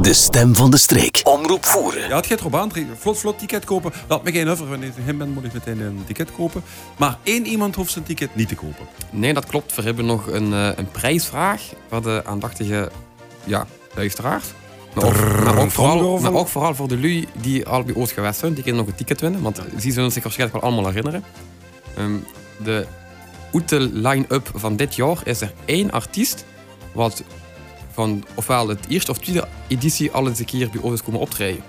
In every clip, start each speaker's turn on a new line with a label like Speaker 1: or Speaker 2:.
Speaker 1: De stem van de streek. Omroep voeren.
Speaker 2: Ja, het gaat erop aan. Vlot, vlot ticket kopen. Laat me geen over. Wanneer ik hem ben, moet ik meteen een ticket kopen. Maar één iemand hoeft zijn ticket niet te kopen.
Speaker 3: Nee, dat klopt. We hebben nog een, eh, een prijsvraag voor de aandachtige ja, luisteraars. Maar ook, maar, ook vooral,
Speaker 2: tromgeroffel.
Speaker 3: maar ook vooral voor de lui die al bij ooit geweest zijn. Die kunnen nog een ticket winnen, want die zullen zich waarschijnlijk wel allemaal herinneren. Ehm, de Oete line-up van dit jaar is er één artiest wat van ofwel het eerste of tweede editie al eens een keer bij ons is komen optreden.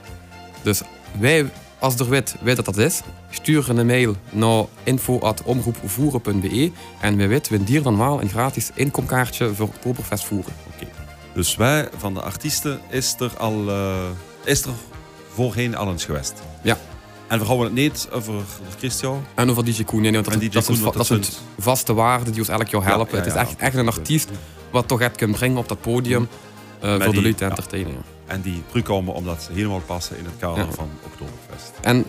Speaker 3: Dus wij, als er weet, weet dat dat is, sturen een mail naar info.omroepvoeren.be en we weten we dier van Waal een gratis inkomkaartje voor Oktoberfest voeren.
Speaker 2: Dus wij van de artiesten is er al eh, is er voorheen al eens geweest.
Speaker 3: Ja.
Speaker 2: En we houden het niet over over Christian.
Speaker 3: En over DJ Koen, ja, nee, want
Speaker 2: En
Speaker 3: dat,
Speaker 2: DJ
Speaker 3: dat,
Speaker 2: Koen,
Speaker 3: zijn,
Speaker 2: want
Speaker 3: va-
Speaker 2: dat
Speaker 3: dat zijn
Speaker 2: zijn-
Speaker 3: vaste waarden die ons elk jaar helpen.
Speaker 2: ja,
Speaker 3: het is
Speaker 2: ja,
Speaker 3: echt, echt een
Speaker 2: absoluut.
Speaker 3: artiest wat toch echt kan brengen op dat podium eh, voor
Speaker 2: die-
Speaker 3: de lui te
Speaker 2: ja.
Speaker 3: entertainen. ja.
Speaker 2: En die terugkomen omdat ze helemaal passen in het kader
Speaker 3: Ja.
Speaker 2: van Oktoberfest.
Speaker 3: En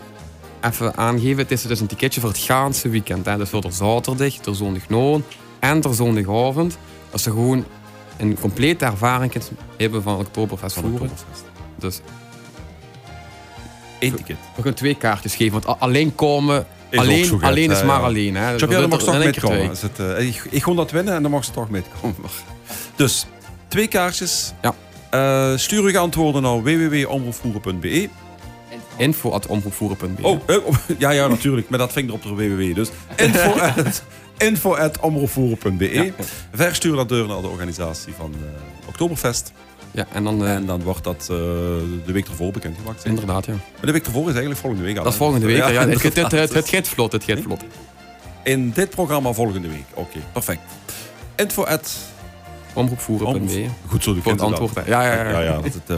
Speaker 3: even aangeven, het is dus een ticketje voor het gaanse weekend. Hè. Dus voor de zaterdag, de zondagnacht en de zondagavond. Als ze gewoon een complete ervaring kunt hebben van Oktoberfest
Speaker 2: Van
Speaker 3: voeren.
Speaker 2: Oktoberfest.
Speaker 3: Dus
Speaker 2: Eén ticket.
Speaker 3: we kunnen twee kaartjes geven, want a- alleen komen...
Speaker 2: Is ook zo
Speaker 3: alleen,
Speaker 2: goed,
Speaker 3: alleen is
Speaker 2: hè,
Speaker 3: maar
Speaker 2: ja.
Speaker 3: alleen. Hè. Er
Speaker 2: Jean-Pierre,
Speaker 3: zijn
Speaker 2: dan mag
Speaker 3: er-
Speaker 2: ze toch
Speaker 3: er zijn er
Speaker 2: metkomen.
Speaker 3: twee.
Speaker 2: Is het, eh, ik, ik kon dat winnen en dan mag ze toch metkomen. Dus, twee kaartjes.
Speaker 3: Ja.
Speaker 2: Eh, stuur uw antwoorden naar www.omroepvoeren.be.
Speaker 3: Info at omroepvoeren.be.
Speaker 2: Oh, eh, oh, ja, ja, natuurlijk. Met dat vinger op de www. Dus info at, info at omroepvoeren.be.
Speaker 3: Ja.
Speaker 2: Verstuur dat deur naar de organisatie van eh, Oktoberfest.
Speaker 3: Ja, en dan... eh,
Speaker 2: En dan wordt dat eh, de week ervoor bekendgemaakt. zeg.
Speaker 3: Inderdaad, ja.
Speaker 2: Maar de week ervoor is eigenlijk volgende week. al,
Speaker 3: Dat is
Speaker 2: hè?
Speaker 3: volgende week. Ja, het, het,
Speaker 2: inderdaad.
Speaker 3: het, het, het gaat vlot, het gaat vlot.
Speaker 2: In dit programma volgende week. Oké, perfect. Info at
Speaker 3: Omroepvoeren.be.
Speaker 2: Goed zo, de
Speaker 3: Voor het antwoord. hè. Ja, ja, ja.
Speaker 2: Ja, ja, dat het, eh,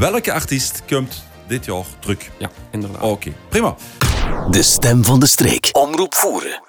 Speaker 2: welke artiest komt dit jaar terug?
Speaker 3: Ja, inderdaad.
Speaker 2: Oké, prima.
Speaker 1: De stem van de streek. Omroep voeren.